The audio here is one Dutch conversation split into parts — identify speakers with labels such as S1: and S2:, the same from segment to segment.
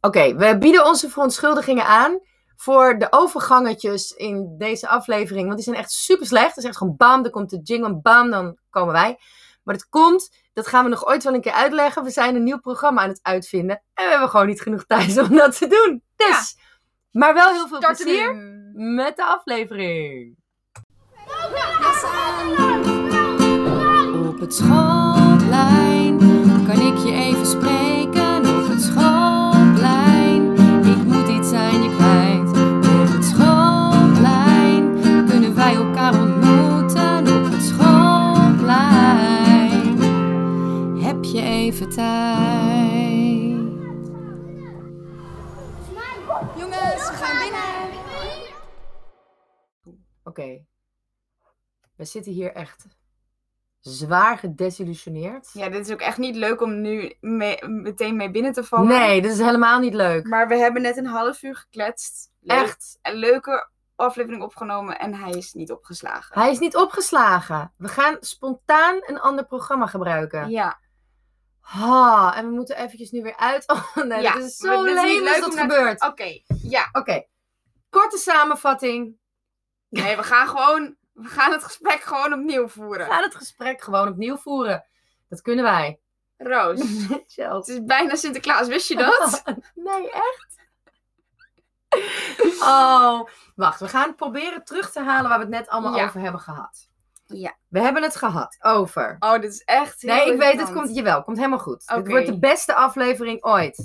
S1: Oké, we bieden onze verontschuldigingen aan voor de overgangetjes in deze aflevering. Want die zijn echt super slecht. Het is echt gewoon bam, dan komt de jingle, bam, dan komen wij. Maar het komt, dat gaan we nog ooit wel een keer uitleggen. We zijn een nieuw programma aan het uitvinden. En we hebben gewoon niet genoeg tijd om dat te doen. Dus, maar wel heel veel
S2: Start hem
S1: plezier
S2: in.
S1: met de aflevering.
S3: Op het schoolplein kan ik je even spreken. Op het schoolplein, ik moet iets aan je kwijt. Op het schoolplein kunnen wij elkaar ontmoeten. Op het schoolplein heb je even tijd. Jongens, we gaan binnen.
S1: Oké. We zitten hier echt zwaar gedesillusioneerd.
S2: Ja, dit is ook echt niet leuk om nu me- meteen mee binnen te vallen.
S1: nee, dit is helemaal niet leuk.
S2: Maar we hebben net een half uur gekletst. Leuk.
S1: Echt.
S2: Een leuke aflevering opgenomen en hij is niet opgeslagen.
S1: Hij is niet opgeslagen. We gaan spontaan een ander programma gebruiken.
S2: Ja.
S1: Ha, en we moeten eventjes nu weer uit. Oh nee,
S2: Ja,
S1: dat is
S2: maar
S1: zo
S2: dit is niet
S1: leuk als
S2: leuk
S1: dat
S2: om naar te- Oh.
S1: gebeurt.
S2: Oké, ja.
S1: Oké. Korte samenvatting.
S2: Nee, we gaan gewoon... We gaan het gesprek gewoon opnieuw
S1: We
S2: voeren.
S1: gaan het gesprek gewoon opnieuw voeren. Dat kunnen wij.
S2: Roos, het
S1: Chelsea.
S2: is bijna Sinterklaas, wist je dat?
S1: Nee, echt? Oh, wacht. We gaan proberen terug te halen waar we het net allemaal
S2: Ja.
S1: over hebben gehad.
S2: Ja.
S1: We hebben het gehad over.
S2: Oh, dit is echt heel
S1: nee, ik weet, het
S2: irritant.
S1: komt, jawel, komt helemaal goed. Dit
S2: Oké.
S1: wordt de beste aflevering ooit.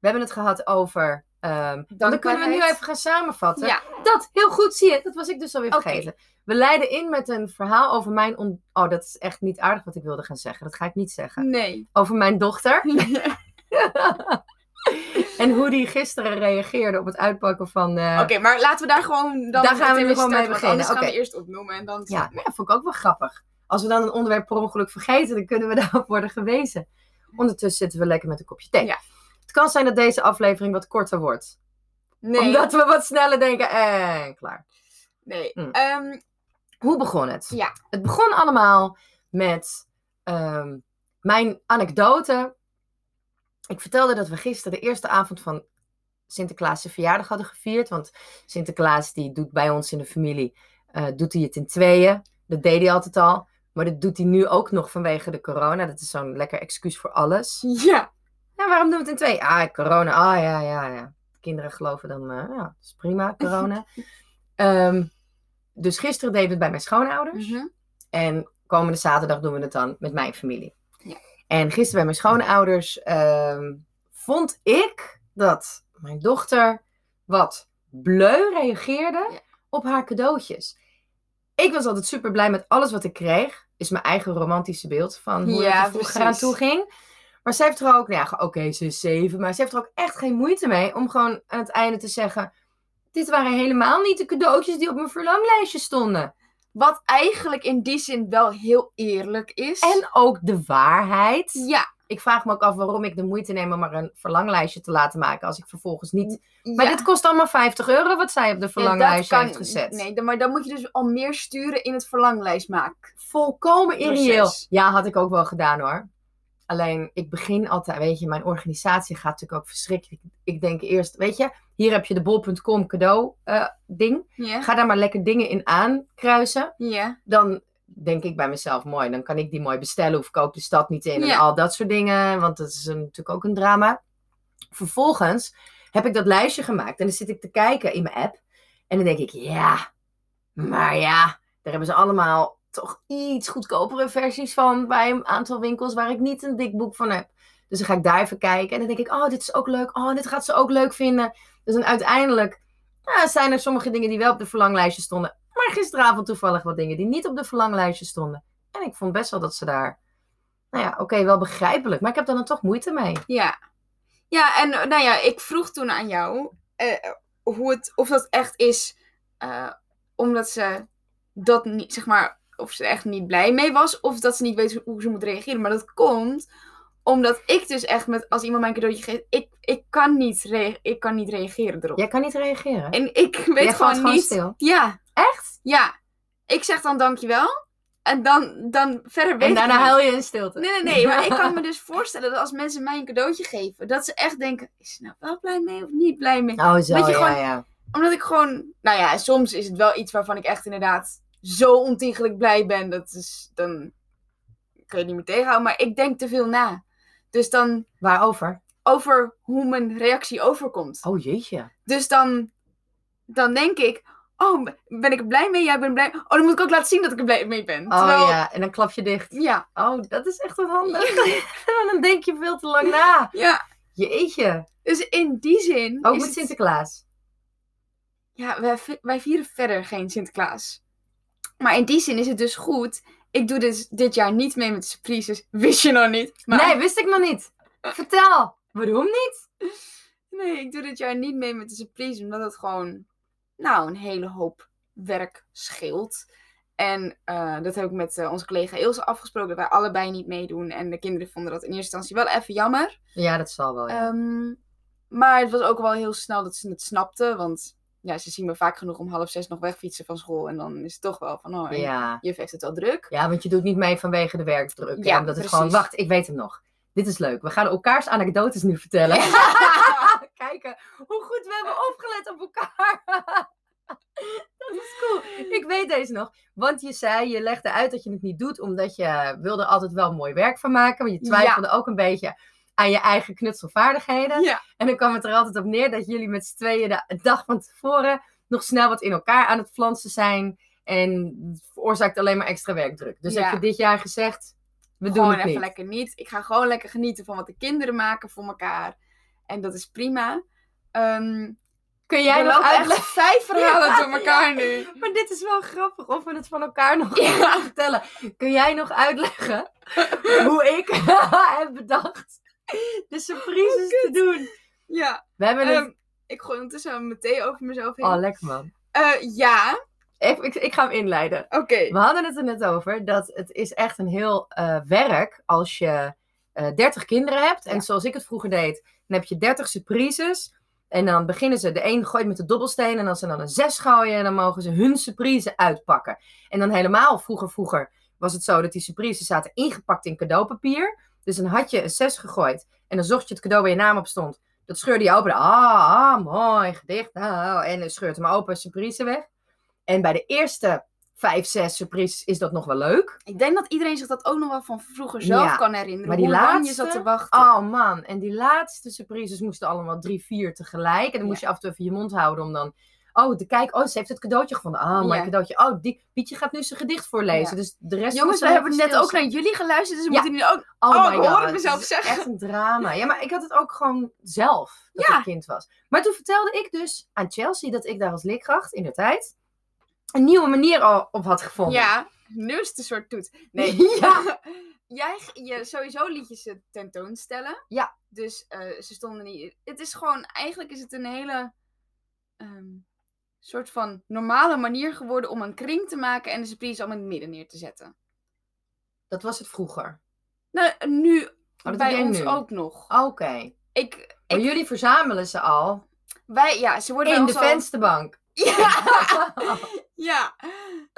S1: We hebben het gehad over... ehm dan kunnen we nu
S2: Dankbaarheid.
S1: even gaan samenvatten.
S2: Ja.
S1: Dat, heel goed, zie je. Dat was ik dus alweer
S2: Oké.
S1: vergeten. We leiden in met een verhaal over mijn... On... Oh, dat is echt niet aardig wat ik wilde gaan zeggen. Dat ga ik niet zeggen.
S2: Nee.
S1: Over mijn dochter. en hoe die gisteren reageerde op het uitpakken van... eh,
S2: Oké, maar laten we daar gewoon dan
S1: Daar gaan we
S2: meteen
S1: nu
S2: mee
S1: gewoon mee
S2: starten, want Anders
S1: beginnen.
S2: gaan
S1: Oké.
S2: we eerst opnoemen en dan...
S1: Ja, nou ja, vond ik ook wel grappig. Als we dan een onderwerp per ongeluk vergeten, dan kunnen we daarop worden gewezen. Ondertussen zitten we lekker met een kopje thee.
S2: Ja.
S1: Het kan zijn dat deze aflevering wat korter wordt.
S2: Nee.
S1: Omdat we wat sneller denken en klaar.
S2: Nee.
S1: Hm.
S2: Ehm,
S1: Hoe begon het?
S2: Ja.
S1: Het begon allemaal met ehm, mijn anekdote. Ik vertelde dat we gisteren de eerste avond van Sinterklaas zijn verjaardag hadden gevierd. Want Sinterklaas die doet bij ons in de familie, eh, doet hij het in tweeën. Dat deed hij altijd al. Maar dat doet hij nu ook nog vanwege de corona. Dat is zo'n lekker excuus voor alles.
S2: ja.
S1: Ja, waarom doen we het in twee? Ah, corona. Ah, ja, ja, ja. Kinderen geloven dan, eh, ja, dat is prima, corona. Ehm, dus gisteren deden we het bij mijn schoonouders. En komende zaterdag doen we het dan met mijn familie.
S2: Ja.
S1: En gisteren bij mijn schoonouders ehm, vond ik dat mijn dochter wat bleu reageerde
S2: Ja.
S1: op haar cadeautjes. Ik was altijd super blij met alles wat ik kreeg. Is mijn eigen romantische beeld van hoe
S2: Ja,
S1: het er vroeger aan
S2: precies.
S1: toe ging. Maar zij heeft er ook, nou ja, oké, ze is zeven, maar ze heeft er ook echt geen moeite mee om gewoon aan het einde te zeggen: Dit waren helemaal niet de cadeautjes die op mijn verlanglijstje stonden.
S2: Wat eigenlijk in die zin wel heel eerlijk is.
S1: En ook de waarheid.
S2: ja,
S1: Ik vraag me ook af waarom ik de moeite neem om maar een verlanglijstje te laten maken. Als ik vervolgens niet. Maar
S2: ja.
S1: dit kost allemaal 50 euro wat zij op de
S2: Ja, dat
S1: verlanglijstje
S2: kan-
S1: heeft gezet.
S2: Nee, dan- maar dan moet je dus al meer sturen in het verlanglijst maken.
S1: Volkomen irreëel.
S2: Precies.
S1: Ja, had ik ook wel gedaan hoor. Alleen ik begin altijd, weet je, mijn organisatie gaat natuurlijk ook verschrikkelijk. Ik denk eerst, weet je, hier heb je de bol.com cadeau eh, ding.
S2: Ja.
S1: Ga daar maar lekker dingen in aankruisen.
S2: Ja.
S1: dan denk ik bij mezelf, mooi, dan kan ik die mooi bestellen, hoef ik ook de stad niet in en
S2: Ja.
S1: al dat soort dingen, want dat is een- natuurlijk ook een drama. Vervolgens heb ik dat lijstje gemaakt en dan zit ik te kijken in mijn app en dan denk ik, ja, maar ja, daar hebben ze allemaal toch iets goedkopere versies van bij een aantal winkels waar ik niet een dik boek van heb. Dus dan ga ik daar even kijken en dan denk ik, oh, dit is ook leuk, oh, dit gaat ze ook leuk vinden. Dus dan uiteindelijk ja, zijn er sommige dingen die wel op de verlanglijstje stonden, maar gisteravond toevallig wat dingen die niet op de verlanglijstje stonden. En ik vond best wel dat ze daar. Nou ja, oké, wel begrijpelijk. Maar ik heb daar dan toch moeite mee.
S2: Ja. Ja, en eh, nou ja, ik vroeg toen aan jou eh, hoe het, of dat echt is eh, omdat ze dat niet, zeg maar, of ze er echt niet blij mee was, of dat ze niet weet hoe ze moet reageren. Maar dat komt omdat ik dus echt met, als iemand mij een cadeautje geeft, ik, ik, kan, niet rea- ik kan niet reageren erop.
S1: Jij kan niet reageren.
S2: En ik weet
S1: Jij valt
S2: gewoon
S1: gewoon
S2: niet.
S1: stil.
S2: Ja,
S1: Echt?
S2: ja. Ik zeg dan dankjewel. En dan, dan verder weet
S1: En
S2: ik
S1: daarna
S2: het niet.
S1: huil je in stilte.
S2: Nee, nee, nee. Maar ik kan me dus voorstellen dat als mensen mij een cadeautje geven, dat ze echt denken: is ze nou wel blij mee of niet blij mee?
S1: Oh, zo,
S2: Weet je,
S1: ja,
S2: gewoon-
S1: ja.
S2: Omdat ik gewoon, nou ja, soms is het wel iets waarvan ik echt inderdaad zo ontiegelijk blij ben. Dat is dan. kun je niet meer tegenhouden. Maar ik denk te veel na. Dus dan
S1: Waarover?
S2: over hoe mijn reactie overkomt.
S1: Oh, jeetje.
S2: Dus dan, dan denk ik. Oh, ben ik er blij mee? Jij bent blij. Oh, dan moet ik ook laten zien dat ik er blij mee ben.
S1: Oh
S2: Terwijl-
S1: ja, en dan klap je dicht.
S2: Ja,
S1: Oh, dat is echt onhandig. dan denk je veel te lang na.
S2: ja.
S1: Jeetje.
S2: Dus in die zin.
S1: Oh,
S2: is
S1: moet
S2: het-
S1: Sinterklaas.
S2: Ja, wij, vi- wij vieren verder geen Sinterklaas. Maar in die zin is het dus goed. Ik doe dus dit jaar niet mee met de surprises. Wist je nog niet? Maar, Eh.
S1: Nee, wist ik nog niet. Vertel. Waarom niet?
S2: Nee, ik doe dit jaar niet mee met de surprise. Omdat het gewoon, nou, een hele hoop werk scheelt. En eh, dat heb ik met eh, onze collega Ilse afgesproken. Dat wij allebei niet meedoen. En de kinderen vonden dat in eerste instantie wel even jammer.
S1: Ja, dat zal wel. Oh Ja.
S2: Ehm, maar het was ook wel heel snel dat ze het snapten. Want ja, ze zien me vaak genoeg om half zes nog wegfietsen van school. En dan is het toch wel van, oh, en
S1: ja.
S2: juf heeft het al druk.
S1: ja, want je doet niet mee vanwege de werkdruk. Ja,
S2: Ja,
S1: omdat het
S2: precies.
S1: gewoon, wacht, ik weet hem nog. Dit is leuk. We gaan elkaars anekdotes nu vertellen. Kijken hoe goed we hebben opgelet op elkaar. dat is cool. Ik weet deze nog. Want je zei, je legde uit dat je het niet doet, omdat je wilde er altijd wel mooi werk van maken. Maar je
S2: Ja.
S1: twijfelde ook een beetje aan je eigen knutselvaardigheden.
S2: Ja.
S1: En dan kwam het er altijd op neer dat jullie met z'n tweeën de dag van tevoren nog snel wat in elkaar aan het flansen zijn. En het veroorzaakt alleen maar extra werkdruk. Dus
S2: Ja.
S1: heb je dit jaar gezegd, we doen
S2: gewoon
S1: het
S2: even
S1: niet.
S2: lekker niet. Ik ga gewoon lekker genieten van wat de kinderen maken voor elkaar. En dat is prima. Ehm
S1: Kun jij
S2: er
S1: nog
S2: lopen
S1: uitleggen?
S2: echt vijf verhalen
S1: Ja,
S2: door elkaar nu.
S1: Maar dit is wel grappig of we het van elkaar nog
S2: Ja.
S1: gaan vertellen. Kun jij nog uitleggen hoe ik heb bedacht de
S2: Oh,
S1: surprises te doen?
S2: Ja,
S1: We hebben
S2: ehm,
S1: het...
S2: ik gooi ondertussen mijn thee over mezelf heen.
S1: Oh, lekker man.
S2: Eh, ja,
S1: Ik, ik, ik ga hem inleiden.
S2: oké.
S1: We hadden het er net over dat het is echt een heel eh, werk als je eh 30 kinderen hebt. En
S2: Ja.
S1: zoals ik het vroeger deed, dan heb je 30 surprises. En dan beginnen ze, de een gooit met de dobbelsteen. En als ze dan een zes gooien, dan mogen ze hun surprise uitpakken. En dan helemaal vroeger, vroeger was het zo dat die surprises zaten ingepakt in cadeaupapier. Dus dan had je een zes gegooid. En dan zocht je het cadeau waar je naam op stond. Dat scheurde je open. Ah, ah, mooi gedicht. Ah, en dan scheurt hem open, surprise weg. En bij de eerste vijf, zes surprises is dat nog wel leuk.
S2: Ik denk dat iedereen zich dat ook nog wel van vroeger zelf
S1: Ja,
S2: kan herinneren.
S1: maar die
S2: hoe lang je
S1: laatste-
S2: zat te wachten.
S1: Oh man, en die laatste surprises moesten allemaal drie, vier tegelijk. En dan moest je af en toe even je mond houden om dan... Oh, te kijken. Oh, ze heeft het cadeautje gevonden. Ah, mijn
S2: Ja. cadeautje.
S1: cadeautje. Oh, die, Pietje gaat nu zijn gedicht voorlezen. Dus de rest
S2: Jongens,
S1: moest
S2: we
S1: dan
S2: hebben
S1: even
S2: net ook
S1: stilstaan.
S2: naar jullie geluisterd, dus we
S1: Ja.
S2: moeten nu ook...
S1: Oh,
S2: Oh,
S1: my
S2: ik hoor
S1: God,
S2: het mezelf
S1: het is
S2: zeggen.
S1: Echt een drama. Ja, maar ik had het ook gewoon zelf dat
S2: Ja.
S1: ik kind was. Maar toen vertelde ik dus aan Chelsea dat ik daar als leerkracht in de tijd een nieuwe manier al op had gevonden.
S2: Ja, nu is het een soort toets. Nee.
S1: Ja.
S2: Jij, je, sowieso liet je ze tentoonstellen.
S1: Ja.
S2: Dus eh, ze stonden niet... Het is gewoon... Eigenlijk is het een hele... ehm, soort van normale manier geworden om een kring te maken en de surprise allemaal in het midden neer te zetten.
S1: Dat was het vroeger.
S2: Nou, nu...
S1: Oh, dat doe
S2: bij
S1: jij
S2: ons
S1: nu?
S2: ook nog.
S1: Oké.
S2: Ik...
S1: Maar
S2: ik
S1: jullie verzamelen ze al
S2: wij, ja, ze worden bij
S1: in de
S2: ons al-
S1: vensterbank.
S2: Ja, ja.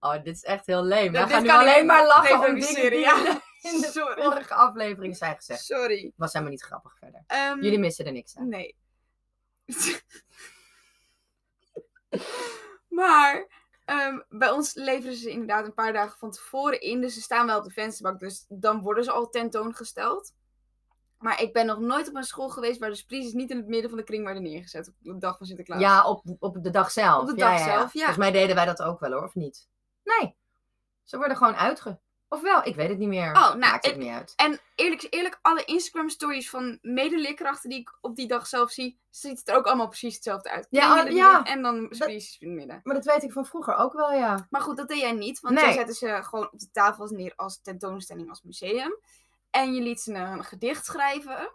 S1: Oh, dit is echt heel leem. We
S2: dit
S1: gaan nu
S2: kan ik
S1: alleen maar
S2: niet
S1: lachen om dingen
S2: reproduceren,
S1: die
S2: ja.
S1: in de- in de
S2: Sorry.
S1: vorige aflevering zijn gezegd.
S2: Sorry.
S1: Was helemaal niet grappig verder.
S2: Ehm,
S1: Jullie missen er niks aan.
S2: Nee. maar ehm, bij ons leveren ze inderdaad een paar dagen van tevoren in. Dus ze staan wel op de vensterbank. Dus dan worden ze al tentoongesteld. Maar ik ben nog nooit op een school geweest waar de surprises niet in het midden van de kring werden neergezet. Op de dag van Sinterklaas.
S1: Ja, op, op de dag zelf.
S2: nou. Op de
S1: Ja,
S2: dag
S1: ja,
S2: zelf, ja.
S1: Volgens mij deden wij dat ook wel hoor, of niet? Nee. Ze worden gewoon uitge... Of wel, ik weet het niet meer.
S2: Oh, nou,
S1: Maakt het
S2: ik-
S1: niet uit.
S2: En eerlijk is eerlijk, alle Instagram stories van medeleerkrachten die ik op die dag zelf zie, ziet het er ook allemaal precies hetzelfde uit.
S1: Ja,
S2: Kring in
S1: al-
S2: het
S1: ja.
S2: midden En dan surprises in het midden.
S1: Maar dat weet ik van vroeger ook wel, ja.
S2: Maar goed, dat deed jij niet. Want
S1: Nee.
S2: jij zette ze gewoon op de tafels neer als tentoonstelling, als museum. En je liet ze een gedicht schrijven.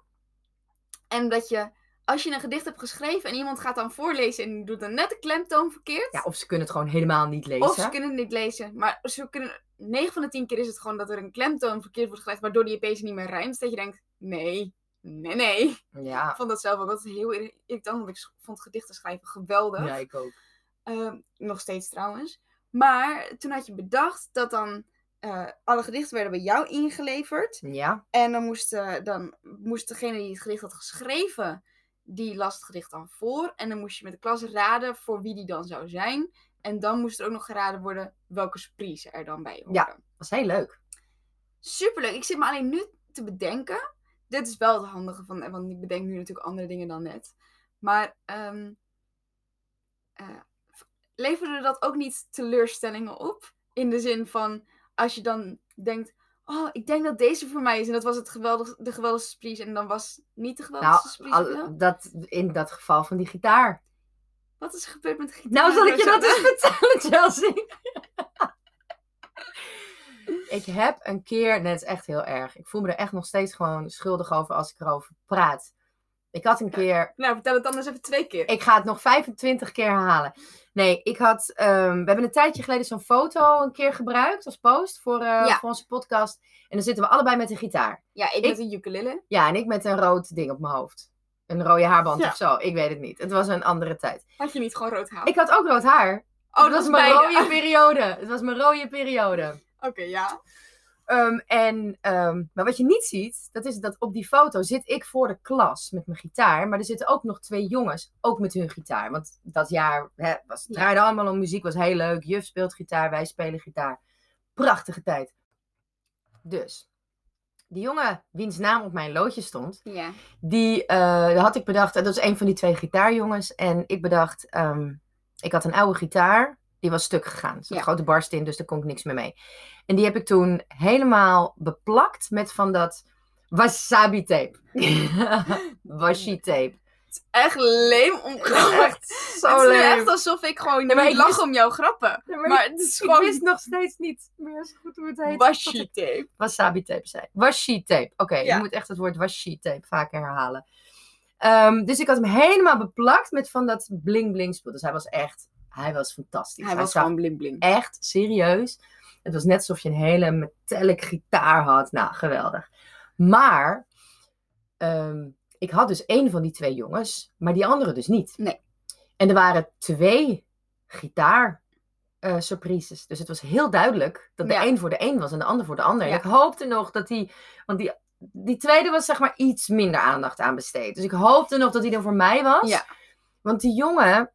S2: En dat je, als je een gedicht hebt geschreven en iemand gaat dan voorlezen en doet dan net de klemtoon verkeerd.
S1: Ja, of ze kunnen het gewoon helemaal niet lezen.
S2: of ze kunnen het niet lezen. Maar ze kunnen, 9 van de 10 keer is het gewoon dat er een klemtoon verkeerd wordt gelegd, waardoor die opeens niet meer rijmt. Dat je denkt, nee, nee, nee. Ik
S1: Ja.
S2: vond dat zelf ook altijd heel irri- irritant, want ik s- vond gedichten schrijven geweldig.
S1: ja, ik ook.
S2: Ehm, nog steeds trouwens. Maar toen had je bedacht dat dan eh, alle gedichten werden bij jou ingeleverd.
S1: Ja,
S2: En dan moest, eh, dan moest degene die het gedicht had geschreven, die las het gedicht dan voor. En dan moest je met de klas raden voor wie die dan zou zijn. En dan moest er ook nog geraden worden welke surprise er dan bij hoorde.
S1: was heel leuk.
S2: Superleuk. Ik zit me alleen nu te bedenken. Dit is wel het handige van, want ik bedenk nu natuurlijk andere dingen dan net. Maar ehm eh, leverde dat ook niet teleurstellingen op? In de zin van, als je dan denkt, oh, ik denk dat deze voor mij is. En dat was het geweldig, de geweldige surprise. En dan was het niet de geweldige
S1: Nou,
S2: surprise. voor jou?
S1: al- dat, in dat geval van die gitaar.
S2: Wat is er gebeurd met de gitaar?
S1: Nou, zal ik je dat
S2: Rosanne?
S1: eens vertellen, Chelsea? ik heb een keer, net is echt heel erg, ik voel me er echt nog steeds gewoon schuldig over als ik erover praat. Ik had een keer
S2: Nou, vertel het anders even twee keer.
S1: Ik ga het nog 25 keer herhalen. Nee, ik had. ehm, we hebben een tijdje geleden zo'n foto een keer gebruikt als post voor, eh,
S2: Ja.
S1: voor onze podcast. En dan zitten we allebei met een gitaar.
S2: ja, ik,
S1: ik-
S2: met een ukulele.
S1: Ja, en ik met een rood ding op mijn hoofd. Een rode haarband
S2: Ja.
S1: of zo. Ik weet het niet. Het was een andere tijd.
S2: Had je niet gewoon rood haar?
S1: Ik had ook rood haar.
S2: oh,
S1: het was mijn
S2: beide.
S1: rode periode. Het was mijn rode periode.
S2: Oké, ja.
S1: Ehm, en, ehm, maar wat je niet ziet, dat is dat op die foto zit ik voor de klas met mijn gitaar. Maar er zitten ook nog twee jongens, ook met hun gitaar. Want dat jaar hè, was, het
S2: Ja.
S1: draaide allemaal om muziek, was heel leuk. Juf speelt gitaar, wij spelen gitaar. Prachtige tijd. Dus, die jongen wiens naam op mijn loodje stond,
S2: Ja.
S1: die eh, had ik bedacht, dat is een van die twee gitaarjongens. En ik bedacht, ehm, ik had een oude gitaar, die was stuk gegaan. Er zat
S2: Ja.
S1: een grote barst in, dus daar kon ik niks meer mee. En die heb ik toen helemaal beplakt met van dat wasabi tape. Washi tape.
S2: echt leem om grappen.
S1: Echt zo
S2: het is nu
S1: leuk.
S2: echt alsof ik gewoon
S1: Nee, maar
S2: niet
S1: ik
S2: lach
S1: wist-
S2: om jouw grappen.
S1: Ja, maar
S2: Maar
S1: ik,
S2: het is
S1: ik
S2: gewoon
S1: wist nog steeds niet meer zo goed hoe het heet.
S2: washi tape.
S1: wasabi tape zei. Washi tape. Oké,
S2: Ja.
S1: je moet echt het woord washi tape vaker herhalen. Ehm, dus ik had hem helemaal beplakt met van dat bling bling spul. Dus hij was echt, hij was fantastisch.
S2: Hij was
S1: zag
S2: gewoon blim blim.
S1: echt serieus. Het was net alsof je een hele metallic gitaar had. Nou, geweldig. Maar ehm, ik had dus één van die twee jongens, maar die andere dus niet.
S2: Nee.
S1: En er waren twee gitaar eh, surprises. Dus het was heel duidelijk dat de
S2: Ja.
S1: een voor de een was en de ander voor de ander.
S2: Ja.
S1: En ik hoopte nog dat die, want die, die tweede was zeg maar iets minder aandacht aan besteed. Dus ik hoopte nog dat die dan voor mij was.
S2: Ja.
S1: Want die jongen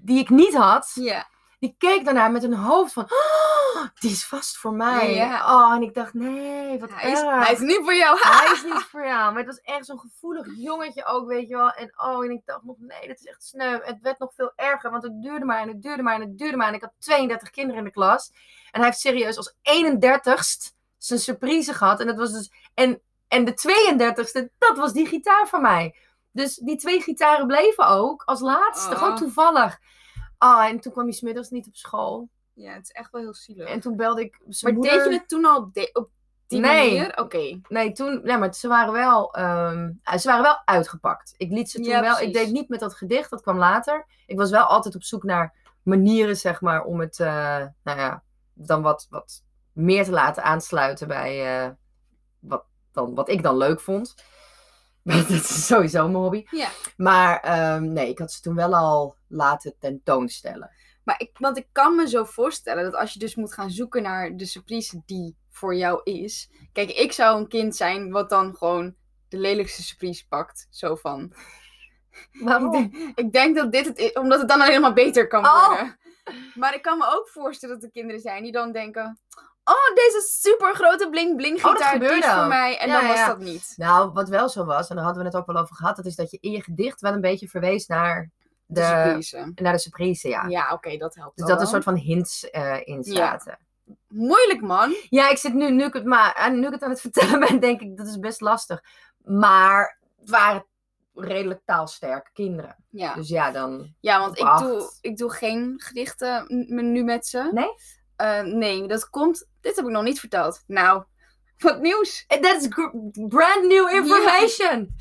S1: die ik niet had,
S2: Ja.
S1: die keek daarna met een hoofd van... "Oh, die is vast voor mij.
S2: Ja.
S1: Oh, en ik dacht, nee, wat
S2: Hij is,
S1: erg.
S2: hij is niet voor jou. Ha!
S1: Hij is niet voor jou. Maar het was echt zo'n gevoelig jongetje ook, weet je wel. En oh, en ik dacht nog, nee, dat is echt sneu. Het werd nog veel erger, want het duurde maar en het duurde maar en het duurde maar. En ik had 32 kinderen in de klas. En hij heeft serieus als 31ste zijn surprise gehad. En dat was dus... En, en de 32ste, dat was die gitaar van mij. Dus die twee gitaren bleven ook als laatste.
S2: Oh.
S1: Gewoon toevallig. Ah, en toen kwam hij smiddags niet op school.
S2: Ja, het is echt wel heel zielig.
S1: En toen belde ik
S2: maar
S1: zijn
S2: deed
S1: moeder.
S2: je het toen al op, de- op die
S1: Nee.
S2: manier? Oké.
S1: Nee, toen, nee, maar ze waren wel, ehm, ze waren wel uitgepakt. Ik liet ze toen
S2: Ja,
S1: wel.
S2: precies.
S1: Ik deed niet met dat gedicht, dat kwam later. Ik was wel altijd op zoek naar manieren, zeg maar, om het, eh, nou ja, dan wat, wat meer te laten aansluiten bij eh, wat, dan, wat ik dan leuk vond. dat is sowieso mijn hobby.
S2: Ja.
S1: Maar ehm, nee, ik had ze toen wel al laten tentoonstellen.
S2: Maar ik, want ik kan me zo voorstellen dat als je dus moet gaan zoeken naar de surprise die voor jou is. Kijk, ik zou een kind zijn wat dan gewoon de lelijkste surprise pakt. Zo van. Ik
S1: Waarom?
S2: denk- Ik denk dat dit het is, omdat het dan alleen maar beter kan
S1: Oh.
S2: worden. Maar ik kan me ook voorstellen dat er kinderen zijn die dan denken... Oh, deze super grote bling bling
S1: Oh, dat
S2: gitaar, die is
S1: gebeurde
S2: voor
S1: ook.
S2: mij. En
S1: Ja,
S2: dan
S1: ja,
S2: was
S1: ja.
S2: dat niet.
S1: Nou, wat wel zo was, en daar hadden we het ook wel over gehad, dat is dat je in je gedicht wel een beetje verwees naar
S2: De,
S1: de,
S2: surprise.
S1: naar de surprise, ja.
S2: Ja, oké, dat helpt
S1: Dus
S2: wel
S1: dat er een
S2: wel.
S1: soort van hints eh, in zaten.
S2: Moeilijk, man.
S1: Ja. ik zit nu, nu ik het, maar, aan- nu ik het aan het vertellen ben, denk ik, dat is best lastig. Maar het waren redelijk taalsterke kinderen.
S2: Ja,
S1: Dus ja, dan...
S2: ja want
S1: op
S2: ik
S1: acht.
S2: doe, ik doe geen gedichten m- nu met ze.
S1: Nee?
S2: Eh, nee, dat komt... Dit heb ik nog niet verteld. Nou, wat nieuws.
S1: Eh, That's gr- brand new information!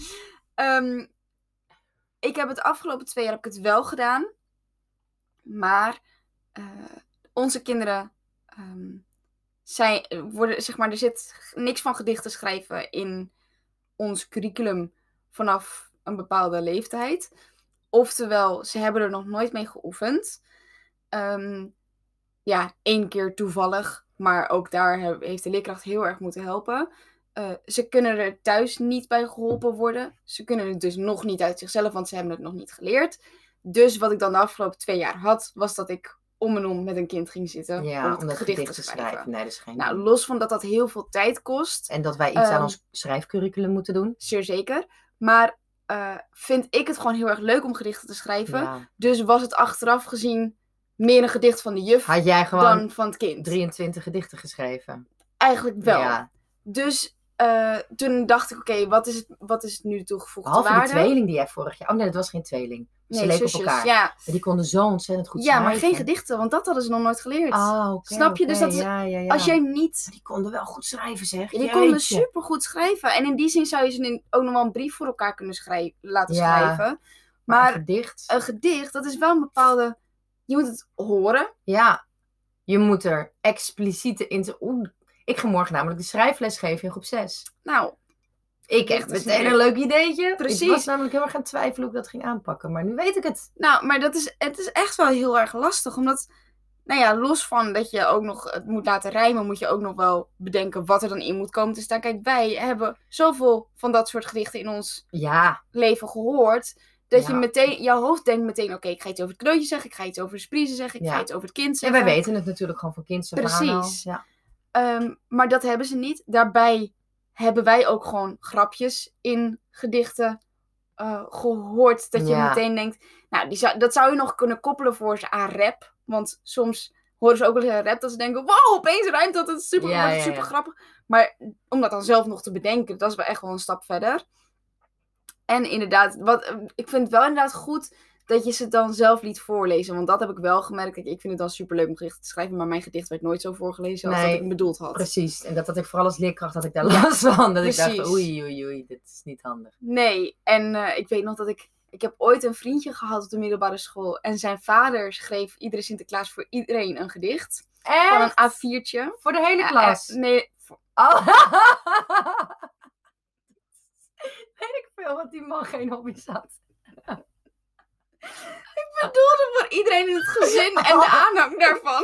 S2: Ehm, ik heb het afgelopen twee jaar heb ik het wel gedaan. Maar eh, onze kinderen ehm, zij eh, worden, zeg maar, er zit g- niks van gedichten schrijven in ons curriculum vanaf een bepaalde leeftijd. Oftewel, ze hebben er nog nooit mee geoefend. Ehm, ja, één keer toevallig. Maar ook daar he- heeft de leerkracht heel erg moeten helpen. Eh, ze kunnen er thuis niet bij geholpen worden. Ze kunnen het dus nog niet uit zichzelf, want ze hebben het nog niet geleerd. Dus wat ik dan de afgelopen twee jaar had, was dat ik om en om met een kind ging zitten.
S1: Ja, om dat gedicht te schrijven. Nee, dat is geen...
S2: Nou, los van dat dat heel veel tijd kost,
S1: en dat wij iets aan
S2: ehm,
S1: ons schrijfcurriculum moeten doen.
S2: zeer zeker. Maar eh, vind ik het gewoon heel erg leuk om gedichten te schrijven.
S1: Ja.
S2: Dus was het achteraf gezien meer een gedicht van de juf
S1: Had jij gewoon
S2: dan van het kind.
S1: 23 gedichten geschreven?
S2: Eigenlijk wel.
S1: Ja.
S2: Dus eh, toen dacht ik, oké, wat, is het- wat is het nu de toegevoegde
S1: Behalve de
S2: waarde?
S1: tweeling die jij vorig jaar... Oh nee, dat was geen tweeling. Ze
S2: nee,
S1: leken op
S2: zusjes,
S1: elkaar.
S2: Ja,
S1: Maar Die konden zo ontzettend goed
S2: ja
S1: schrijven.
S2: maar geen gedichten, want dat hadden ze nog nooit geleerd.
S1: Oh, oké,
S2: Snap je? Dus
S1: oké,
S2: dat is-
S1: ja, ja, ja.
S2: Als jij niet...
S1: Die konden wel goed schrijven, zeg.
S2: Die konden
S1: Jeetje.
S2: supergoed schrijven. En in die zin zou je ze in- ook nog wel een brief voor elkaar kunnen schrij- laten
S1: Ja.
S2: schrijven.
S1: Maar een
S2: Maar
S1: gedicht.
S2: een gedicht, dat is wel een bepaalde... Je moet het horen.
S1: Ja, je moet er expliciete in. te- Oeh, ik ga morgen namelijk de schrijfles geven in groep 6.
S2: Nou,
S1: Ik heb
S2: Echt, dat is
S1: meteen
S2: leuk.
S1: een leuk ideetje. Ik
S2: Precies.
S1: was namelijk heel erg aan het twijfelen hoe ik dat ging aanpakken. Maar nu weet ik het.
S2: Nou, maar dat is, het is echt wel heel erg lastig. Omdat, nou ja, los van dat je ook nog het moet laten rijmen, moet je ook nog wel bedenken wat er dan in moet komen te staan. Kijk, wij hebben zoveel van dat soort gedichten in ons
S1: Ja,
S2: leven gehoord. Dat je
S1: Ja.
S2: meteen, jouw hoofd denkt meteen, oké, ik ga iets over het kleutje zeggen, ik ga iets over de spriezen zeggen, ik
S1: Ja.
S2: ga iets over het kind
S1: en
S2: zeggen.
S1: wij weten het natuurlijk gewoon van kind af aan al.
S2: Precies.
S1: Ja.
S2: Ehm, maar dat hebben ze niet. Daarbij hebben wij ook gewoon grapjes in gedichten eh, gehoord. Dat je
S1: Ja.
S2: meteen denkt, nou, die zou, dat zou je nog kunnen koppelen voor ze aan rap. Want soms horen ze ook wel eens een rap dat ze denken, wow, opeens rijmt dat, het is super,
S1: Ja,
S2: wordt het
S1: ja,
S2: super
S1: ja.
S2: grappig. Maar om dat dan zelf nog te bedenken, dat is wel echt wel een stap verder. En inderdaad, wat, eh, ik vind het wel inderdaad goed dat je ze dan zelf liet voorlezen. Want dat heb ik wel gemerkt. Kijk, ik vind het dan superleuk om gedichten te schrijven, maar mijn gedicht werd nooit zo voorgelezen als
S1: Nee,
S2: dat ik hem bedoeld had.
S1: Precies. En dat had ik vooral als leerkracht dat ik daar
S2: Ja,
S1: last van. Dat ik dacht,
S2: precies.
S1: oei, oei, oei, dit is niet handig.
S2: Nee, en eh, ik weet nog dat ik... Ik heb ooit een vriendje gehad op de middelbare school. En zijn vader schreef iedere Sinterklaas voor iedereen een gedicht. Van
S1: En
S2: een A4'tje.
S1: voor de hele
S2: Ja,
S1: klas.
S2: eh, nee, voor-
S1: Oh. Weet ik veel wat die man geen hobby's had.
S2: voor iedereen in het gezin en
S1: Oh.
S2: de aanhang daarvan.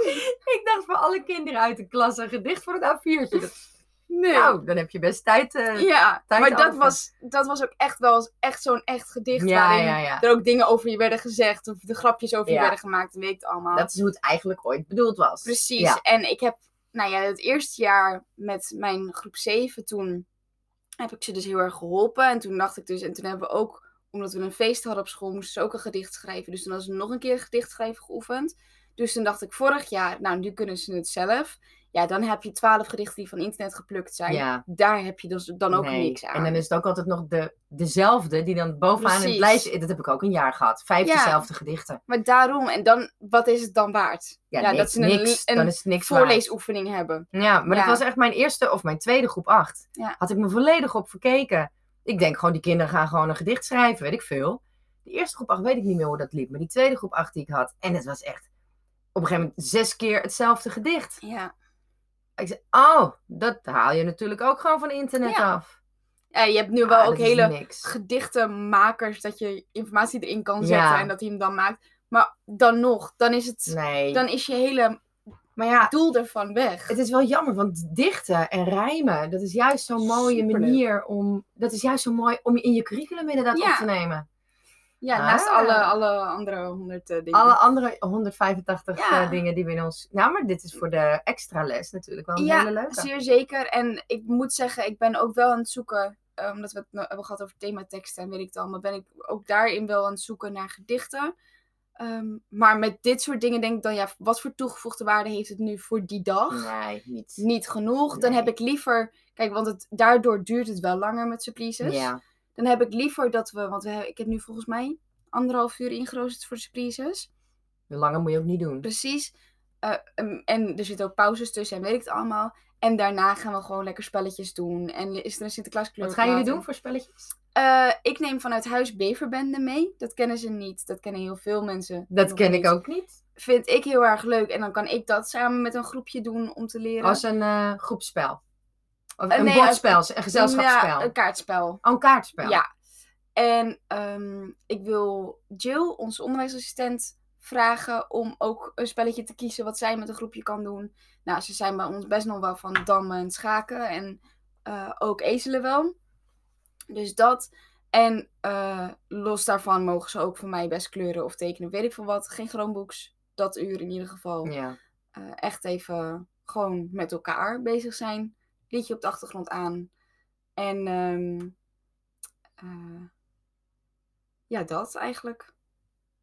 S1: Ik dacht voor alle kinderen uit de klas een gedicht voor het A4'tje. Dat
S2: Nee.
S1: Nou, dan heb je best tijd. eh,
S2: ja,
S1: tijd
S2: maar dat
S1: over.
S2: was, dat was ook echt wel eens echt zo'n echt gedicht.
S1: ja,
S2: waarin
S1: ja, ja.
S2: er ook dingen over je werden gezegd. Of de grapjes over
S1: Ja.
S2: je werden gemaakt. Weet ik het allemaal.
S1: Dat is hoe het eigenlijk ooit bedoeld was.
S2: Precies.
S1: Ja.
S2: En ik heb, nou ja, het eerste jaar met mijn groep 7 toen heb ik ze dus heel erg geholpen. En toen dacht ik dus, en toen hebben we ook, omdat we een feest hadden op school, moesten ze ook een gedicht schrijven. Dus toen hadden ze nog een keer gedicht schrijven geoefend. Dus toen dacht ik vorig jaar, nou nu kunnen ze het zelf. Ja, dan heb je twaalf gedichten die van internet geplukt zijn.
S1: Ja.
S2: Daar heb je dus dan ook
S1: Nee.
S2: niks aan.
S1: En dan is het ook altijd nog de, dezelfde die dan bovenaan in het
S2: Precies.
S1: lijstje... Dat heb ik ook een jaar gehad. Vijf
S2: Ja.
S1: dezelfde gedichten.
S2: Maar daarom, en dan, wat is het dan waard?
S1: Ja, niks,
S2: dat ze een,
S1: niks.
S2: een
S1: dan is het niks waard.
S2: voorleesoefening hebben.
S1: Ja, maar dat
S2: Ja.
S1: was echt mijn eerste of mijn tweede groep acht.
S2: Ja.
S1: Had ik me volledig op verkeken. Ik denk gewoon, die kinderen gaan gewoon een gedicht schrijven, weet ik veel. De eerste groep acht weet ik niet meer hoe dat liep. Maar die tweede groep acht die ik had. En het was echt op een gegeven moment zes keer hetzelfde gedicht.
S2: Ja.
S1: Ik zei, oh, dat haal je natuurlijk ook gewoon van internet
S2: Ja.
S1: af.
S2: Ja, je hebt nu wel
S1: Ah,
S2: ook
S1: dat is
S2: hele
S1: niks.
S2: gedichtenmakers dat je informatie erin kan zetten
S1: Ja.
S2: en dat hij hem dan maakt. Maar dan nog, dan is, het,
S1: Nee.
S2: dan is je hele
S1: Maar ja,
S2: doel ervan weg.
S1: het is wel jammer, want dichten en rijmen, dat is juist zo'n mooie
S2: Superleuk.
S1: manier om... Dat is juist zo mooi om je in je curriculum inderdaad
S2: Ja.
S1: op te nemen.
S2: ja, naast
S1: Ah.
S2: alle, alle andere honderd eh, dingen.
S1: Alle andere 185
S2: Ja.
S1: eh, dingen die we in ons... Nou, maar dit is voor de extra les natuurlijk wel een
S2: Ja,
S1: hele leuke.
S2: Zeer zeker. En ik moet zeggen, ik ben ook wel aan het zoeken, eh, omdat we het nou hebben gehad over themateksten en weet ik het allemaal, ben ik ook daarin wel aan het zoeken naar gedichten. Ehm, maar met dit soort dingen denk ik dan, ja, wat voor toegevoegde waarde heeft het nu voor die dag?
S1: Nee, niet.
S2: niet genoeg. Dan heb
S1: Nee.
S2: ik liever. Kijk, want het, daardoor duurt het wel langer met surprises.
S1: Ja,
S2: Dan heb ik liever dat we. Want we, hebben- ik heb nu volgens mij anderhalf uur ingerozerd voor surprises.
S1: langer moet je ook niet doen.
S2: Precies. Eh, en, en er zitten ook pauzes tussen en weet ik het allemaal. En daarna gaan we gewoon lekker spelletjes doen. En is er een Sinterklaas kleur? Eh,
S1: Wat gaan jullie doen voor spelletjes?
S2: ik neem vanuit huis beverbenden mee. Dat kennen ze niet. Dat kennen heel veel mensen.
S1: Dat
S2: nog
S1: ken
S2: niet.
S1: ik ook niet.
S2: Vind ik heel erg leuk. En dan kan ik dat samen met een groepje doen om te leren.
S1: Als een eh, groepsspel. Of
S2: Eh,
S1: een
S2: nee,
S1: bordspel, een gezelschapsspel.
S2: Ja, een kaartspel.
S1: Oh, een kaartspel.
S2: Ja. En ehm, ik wil Jill, onze onderwijsassistent, vragen om ook een spelletje te kiezen wat zij met een groepje kan doen. Nou, ze zijn bij ons best nog wel van dammen en schaken en eh, ook ezelen wel. Dus dat. En eh, los daarvan mogen ze ook van mij best kleuren of tekenen, weet ik veel wat. Geen Chromebooks, dat uur in ieder geval.
S1: Ja.
S2: Eh, echt even gewoon met elkaar bezig zijn. Liedje op de achtergrond aan. En ehm, eh, ja, dat eigenlijk.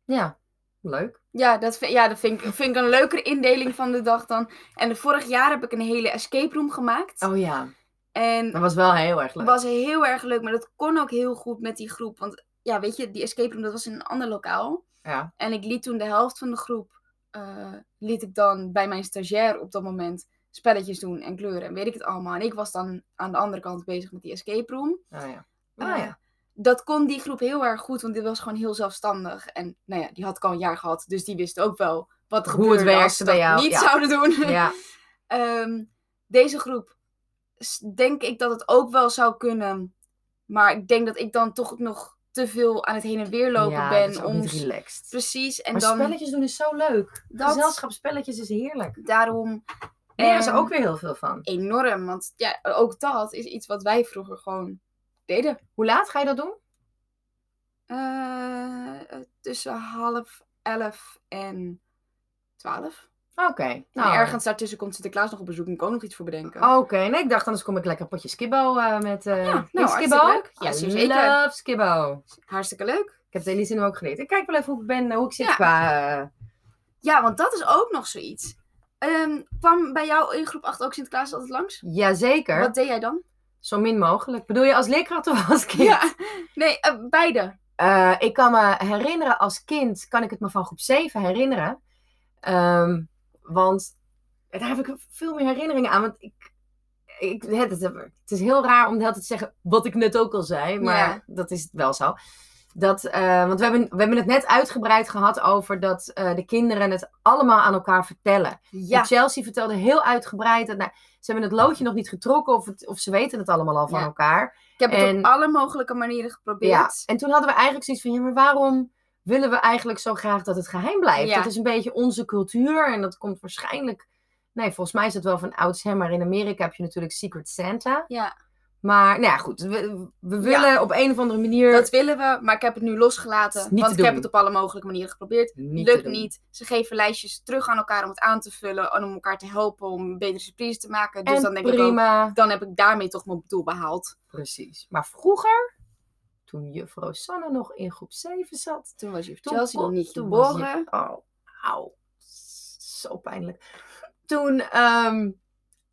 S1: ja, leuk.
S2: Ja, dat, vind, ja, dat vind, ik, vind ik een leukere indeling van de dag dan. En de vorig jaar heb ik een hele escape room gemaakt.
S1: Oh ja,
S2: en
S1: dat was wel heel erg leuk.
S2: het was heel erg leuk, maar dat kon ook heel goed met die groep. Want ja, weet je, die escape room, dat was in een ander lokaal.
S1: Ja.
S2: En ik liet toen de helft van de groep, eh, liet ik dan bij mijn stagiair op dat moment spelletjes doen en kleuren en weet ik het allemaal. En ik was dan aan de andere kant bezig met die escape room.
S1: Oh ja.
S2: Maar
S1: Ah, ja.
S2: Dat kon die groep heel erg goed, want die was gewoon heel zelfstandig. En nou ja, die had ik al een jaar gehad, dus die wist ook wel wat er
S1: Hoe het
S2: gebeurde als
S1: werkte
S2: ze
S1: bij
S2: dat
S1: jou,
S2: niet
S1: ja.
S2: zouden doen.
S1: ja.
S2: Ehm, deze groep s- denk ik dat het ook wel zou kunnen. Maar ik denk dat ik dan toch nog te veel aan het heen en weer lopen
S1: ja, dat is
S2: ben.
S1: ook
S2: Om...
S1: niet relaxed.
S2: Precies, en
S1: maar
S2: dan
S1: spelletjes doen is zo leuk.
S2: Dat-
S1: Gezelschapsspelletjes is heerlijk.
S2: daarom
S1: Daar is
S2: ehm,
S1: ook weer heel veel van.
S2: enorm. Want ja, ook dat is iets wat wij vroeger gewoon deden.
S1: Hoe laat ga je dat doen?
S2: Eh, tussen half elf en twaalf.
S1: Oké. Nou, Oh.
S2: En ergens daartussen komt Sinterklaas nog op bezoek en ik kan ook nog iets voor bedenken.
S1: Oké, nee, ik dacht anders kom ik lekker een potje skibbo eh, met... eh
S2: Ja, nou,
S1: met
S2: hartstikke
S1: skibbo?
S2: leuk. Ja,
S1: I
S2: zeker.
S1: love skibbo.
S2: Hartstikke leuk.
S1: Ik heb het Elise nu ook geleerd. Ik kijk wel even hoe ik ben, eh, hoe ik zit
S2: Ja.
S1: qua... eh,
S2: Ja, want dat is ook nog zoiets. Ehm, kwam bij jou in groep 8 ook Sinterklaas altijd langs?
S1: jazeker.
S2: Wat deed jij dan?
S1: Zo min mogelijk. Bedoel je als leerkracht of als kind?
S2: Nee, eh, beide.
S1: Eh, ik kan me herinneren als kind, kan ik het me van groep 7 herinneren. Ehm, want daar heb ik veel meer herinneringen aan. Want ik, ik, het, het- het is heel raar om de hele tijd te zeggen wat ik net ook al zei. Maar
S2: Ja.
S1: dat is wel zo. Dat, eh, want we hebben, we hebben het net uitgebreid gehad over dat eh, de kinderen het allemaal aan elkaar vertellen.
S2: Ja.
S1: En Chelsea vertelde heel uitgebreid. Dat, nou, ze hebben het loodje nog niet getrokken of, het, of ze weten het allemaal al van
S2: Ja.
S1: elkaar.
S2: Ik heb het
S1: en-
S2: op alle mogelijke manieren
S1: Ja.
S2: geprobeerd.
S1: En toen hadden we eigenlijk zoiets van, ja, maar waarom willen we eigenlijk zo graag dat het geheim blijft?
S2: Ja.
S1: Dat is een beetje onze cultuur en dat komt waarschijnlijk... Nee, volgens mij is het wel van oudsher, maar in Amerika heb je natuurlijk Secret Santa.
S2: Ja.
S1: Maar, nou ja, goed. We, we willen op een of andere manier...
S2: Dat willen we, maar ik heb het nu losgelaten.
S1: Niet te
S2: want ik heb
S1: doen.
S2: het op alle mogelijke manieren geprobeerd.
S1: niet te
S2: Lukt
S1: doen.
S2: niet. Ze geven lijstjes terug aan elkaar om het aan te vullen. En om elkaar te helpen om betere surprises te maken. Dus
S1: en
S2: dan denk ik
S1: prima.
S2: ook, dan heb ik daarmee toch mijn doel behaald.
S1: Precies. Maar vroeger, toen juffrouw Sanne nog in groep 7 zat...
S2: Toen was je
S1: Toen
S2: Chelsea nog
S1: kon-
S2: niet
S1: toen was
S2: geboren.
S1: ik- oh, auw. Zo pijnlijk. Toen ehm,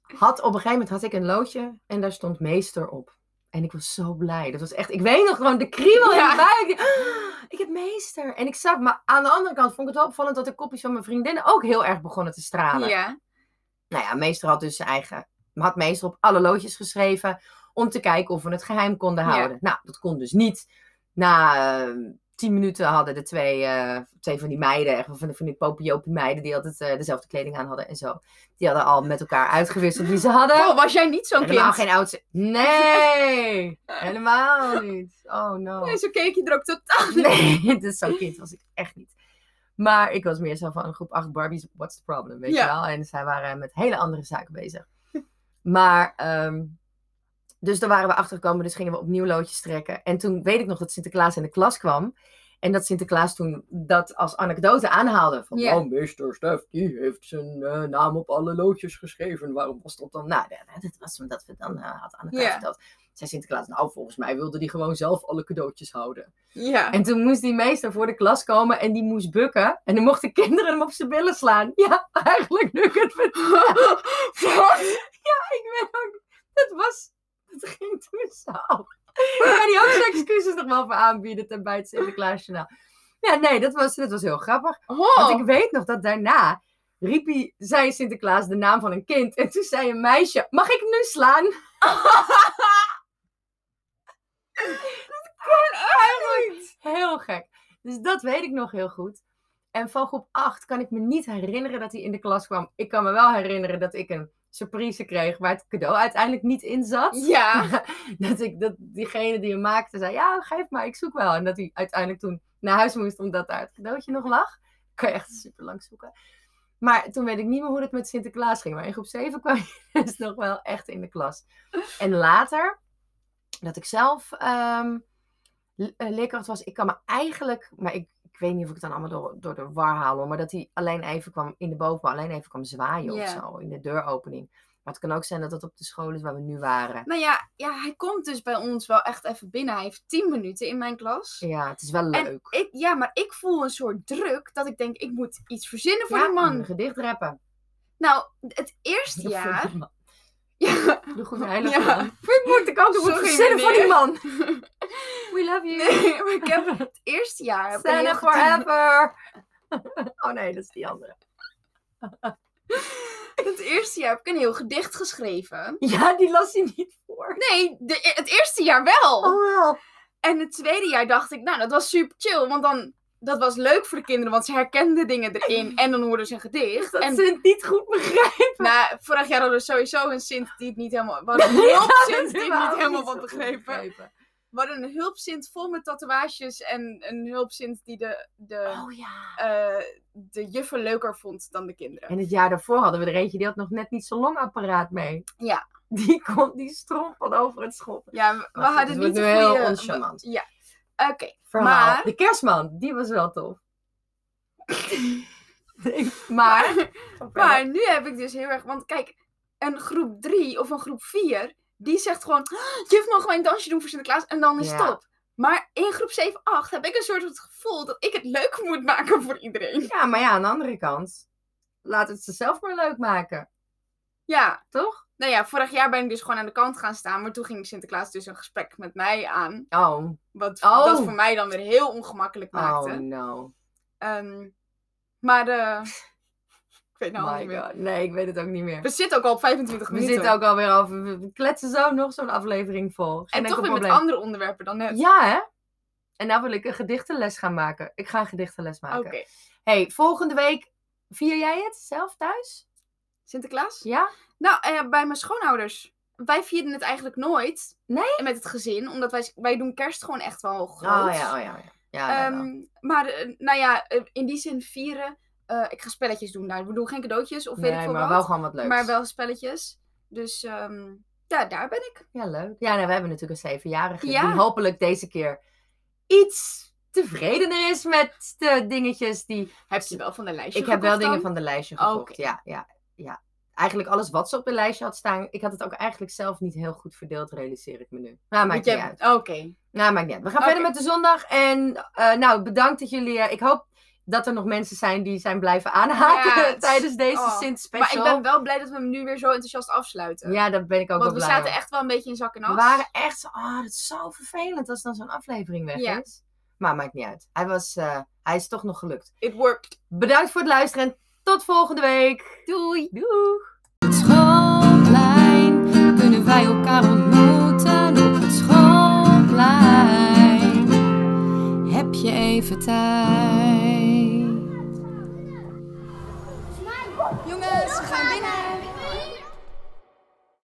S1: had op een gegeven moment had ik een loodje en daar stond meester op. En ik was zo blij. Dat was echt, ik weet nog gewoon de kriebel in
S2: Ja.
S1: mijn buik. Ah, Ik heb meester. En ik zag, maar aan de andere kant vond ik het wel opvallend dat de kopjes van mijn vriendinnen ook heel erg begonnen te stralen.
S2: Ja.
S1: Nou ja, meester had dus zijn eigen, had meester op alle loodjes geschreven om te kijken of we het geheim konden
S2: Ja.
S1: houden. Nou, dat kon dus niet. Na eh, tien minuten hadden de twee, eh, twee van die meiden, echt van die, van die popiopie meiden, die altijd eh, dezelfde kleding aan hadden en zo. Die hadden al met elkaar uitgewisseld wie ze hadden.
S2: Oh, was jij niet zo'n
S1: helemaal
S2: kind?
S1: geen oudste. Nee, helemaal niet. Oh no.
S2: Nee, zo keek je er ook totaal niet
S1: Nee, dus zo'n kind was ik echt niet. Maar ik was meer zo van groep 8 Barbies, what's the problem, weet
S2: Ja.
S1: je wel? En zij waren met hele andere zaken bezig. Maar, ehm, dus daar waren we achter gekomen, dus gingen we opnieuw loodjes trekken. En toen weet ik nog dat Sinterklaas in de klas kwam. En dat Sinterklaas toen dat als anekdote aanhaalde. Van,
S2: Ja.
S1: oh, meester Stef, die heeft zijn eh, naam op alle loodjes geschreven. Waarom was dat dan? Nou, dat- dat was omdat we dan eh, hadden aan elkaar
S2: Ja.
S1: verteld. Zei Sinterklaas, nou, volgens mij wilde die gewoon zelf alle cadeautjes houden.
S2: Ja.
S1: En toen moest die meester voor de klas komen en die moest bukken. En dan mochten kinderen hem op zijn billen slaan. Ja, eigenlijk nu ik het vertel. Ja, ik weet ook. Het was. Het ging toen zo. Ik kan die ook zijn excuses nog wel voor aanbieden ten bij het Sinterklaasjournaal. Ja, nee, dat was, dat was heel grappig.
S2: Oh.
S1: Want ik weet nog dat daarna riep hij, zei Sinterklaas de naam van een kind. En toen zei een meisje, mag ik nu slaan? Heel gek. Dus dat weet ik nog heel goed. En van groep 8 kan ik me niet herinneren dat hij in de klas kwam. Ik kan me wel herinneren dat ik een surprise kreeg waar het cadeau uiteindelijk niet in zat.
S2: Ja.
S1: dat, ik, dat diegene die hem maakte zei, ja geef maar, ik zoek wel. En dat hij uiteindelijk toen naar huis moest omdat daar het cadeautje nog lag. kan je echt super lang zoeken. Maar toen weet ik niet meer hoe het met Sinterklaas ging. Maar in groep 7 kwam je dus nog wel echt in de klas. En later, dat ik zelf ehm l- eh, leerkracht was, ik kan me eigenlijk, maar ik, ik weet niet of ik het dan allemaal door, door de war haal, hoor, maar dat hij alleen even kwam in de bovenbouw, alleen even kwam zwaaien of
S2: Ja.
S1: zo, in de deuropening. Maar het kan ook zijn dat dat op de school is waar we nu waren.
S2: Nou ja, ja, hij komt dus bij ons wel echt even binnen. Hij heeft 10 minuten in mijn klas.
S1: Ja, het is wel
S2: En
S1: leuk.
S2: Ik, ja, maar ik voel een soort druk dat ik denk, ik moet iets verzinnen voor
S1: ja,
S2: die
S1: Een
S2: man.
S1: gedicht rappen.
S2: Nou, het eerste jaar... Ja,
S1: De goede heilige
S2: Ja.
S1: man. Dit moet ik ook doen.
S2: Sorry,
S1: verzinnen voor die
S2: meneer.
S1: man. We love you.
S2: nee, maar ik heb het eerste jaar... heb ik een
S1: Santa
S2: heel gedoe-
S1: forever. oh nee, dat is die andere.
S2: Het eerste jaar heb ik een heel gedicht geschreven.
S1: Ja, die las je niet voor.
S2: Nee, de, e- het eerste jaar wel.
S1: Oh wel.
S2: En het tweede jaar dacht ik, nou, dat was super chill. Want dan, dat was leuk voor de kinderen, want ze herkenden dingen erin. En dan hoorden ze een gedicht.
S1: Dat
S2: en
S1: ze het niet goed begrijpen.
S2: nou, vorig jaar hadden we sowieso een Sint die het niet helemaal... We hadden een hulpsint die het niet helemaal wat begrepen. We hadden een hulpsint vol met tatoeages. En een hulpsint die de, de,
S1: Oh ja.
S2: eh, de juffen leuker vond dan de kinderen.
S1: En het jaar daarvoor hadden we er eentje, die had nog net niet zo'n longapparaat mee.
S2: Ja.
S1: Die kon, die strompelde over het schop.
S2: Ja, we, we
S1: Maar goed,
S2: hadden
S1: het
S2: niet
S1: wordt
S2: een
S1: nu heel
S2: goede...
S1: oncharmant.
S2: we- Ja, oké.
S1: Verhaal.
S2: Maar-
S1: De kerstman, die was wel tof. Nee, maar...
S2: Maar nu heb ik dus heel erg. Want kijk, een groep 3 of een groep 4, die zegt gewoon: "Ah, Juf, mogen wij een dansje doen voor Sinterklaas? En dan is het
S1: Ja.
S2: top. Maar in groep 7, 8 heb ik een soort het gevoel dat ik het leuk moet maken voor iedereen.
S1: Ja, maar ja, aan de andere kant. Laat het ze zelf maar leuk maken,
S2: Ja,
S1: toch?
S2: nou ja, vorig jaar ben ik dus gewoon aan de kant gaan staan. Maar toen ging Sinterklaas dus een gesprek met mij aan.
S1: Oh,
S2: Wat
S1: Oh.
S2: dat voor mij dan weer heel ongemakkelijk maakte.
S1: oh no.
S2: Ehm, maar eh ik weet nou al niet
S1: My
S2: meer.
S1: god. Nee, ik weet het ook niet meer.
S2: We zitten ook al op 25
S1: We
S2: minuten.
S1: zitten ook alweer over. We kletsen zo nog zo'n aflevering vol. Geen
S2: en toch
S1: enkel
S2: weer met
S1: probleem.
S2: andere onderwerpen dan net.
S1: Ja, hè? En nou wil ik een gedichtenles gaan maken. Ik ga een gedichtenles maken.
S2: Oké.
S1: hey, volgende week vier jij het zelf thuis?
S2: Sinterklaas?
S1: Ja?
S2: Nou, eh, bij mijn schoonouders. Wij vierden het eigenlijk nooit.
S1: Nee?
S2: En Met het gezin, omdat wij, wij doen kerst gewoon echt wel groot.
S1: Oh ja, oh ja, oh ja. Ja, dat wel.
S2: Ehm, maar eh, nou ja, eh, in die zin vieren. eh, ik ga spelletjes doen daar. We doen geen cadeautjes of weet ik
S1: nee,
S2: veel
S1: maar
S2: wat.
S1: wel gewoon wat leuks.
S2: Maar wel spelletjes. Dus ehm, ja, daar ben ik.
S1: Ja, leuk. Ja, nou, we hebben natuurlijk een zevenjarige
S2: Ja.
S1: die hopelijk deze keer iets tevredener is met de dingetjes die...
S2: Heb je wel van de lijstje
S1: Ik heb wel
S2: gekocht
S1: dingen
S2: dan?
S1: van de lijstje gekocht,
S2: Oké.
S1: ja, ja, ja. Eigenlijk alles wat ze op de lijstje had staan, ik had het ook eigenlijk zelf niet heel goed verdeeld, realiseer ik me nu. Nou, maakt
S2: Want
S1: niet
S2: jij-
S1: uit.
S2: Oké.
S1: Nou, maakt niet uit. We gaan
S2: Oké.
S1: verder met de zondag en eh, nou, bedankt dat jullie... eh, ik hoop dat er nog mensen zijn die zijn blijven aanhaken
S2: Ja, het-
S1: tijdens deze
S2: oh. Maar ik
S1: Sint-special.
S2: ben wel blij dat we hem nu weer zo enthousiast afsluiten.
S1: Ja, daar ben ik ook
S2: Want
S1: wel
S2: we
S1: blij
S2: zaten
S1: om.
S2: echt wel een beetje in zak en as.
S1: We waren echt zo, ah, dat is zo vervelend als dan zo'n aflevering weg
S2: Ja.
S1: is. Maar maakt niet uit. Hij, was, eh, hij is toch nog gelukt.
S2: It worked.
S1: Bedankt voor het luisteren en tot volgende week.
S2: Doei.
S1: Doeg!
S3: het schoolplein kunnen wij elkaar ontmoeten op het schoolplein. Heb je even tijd?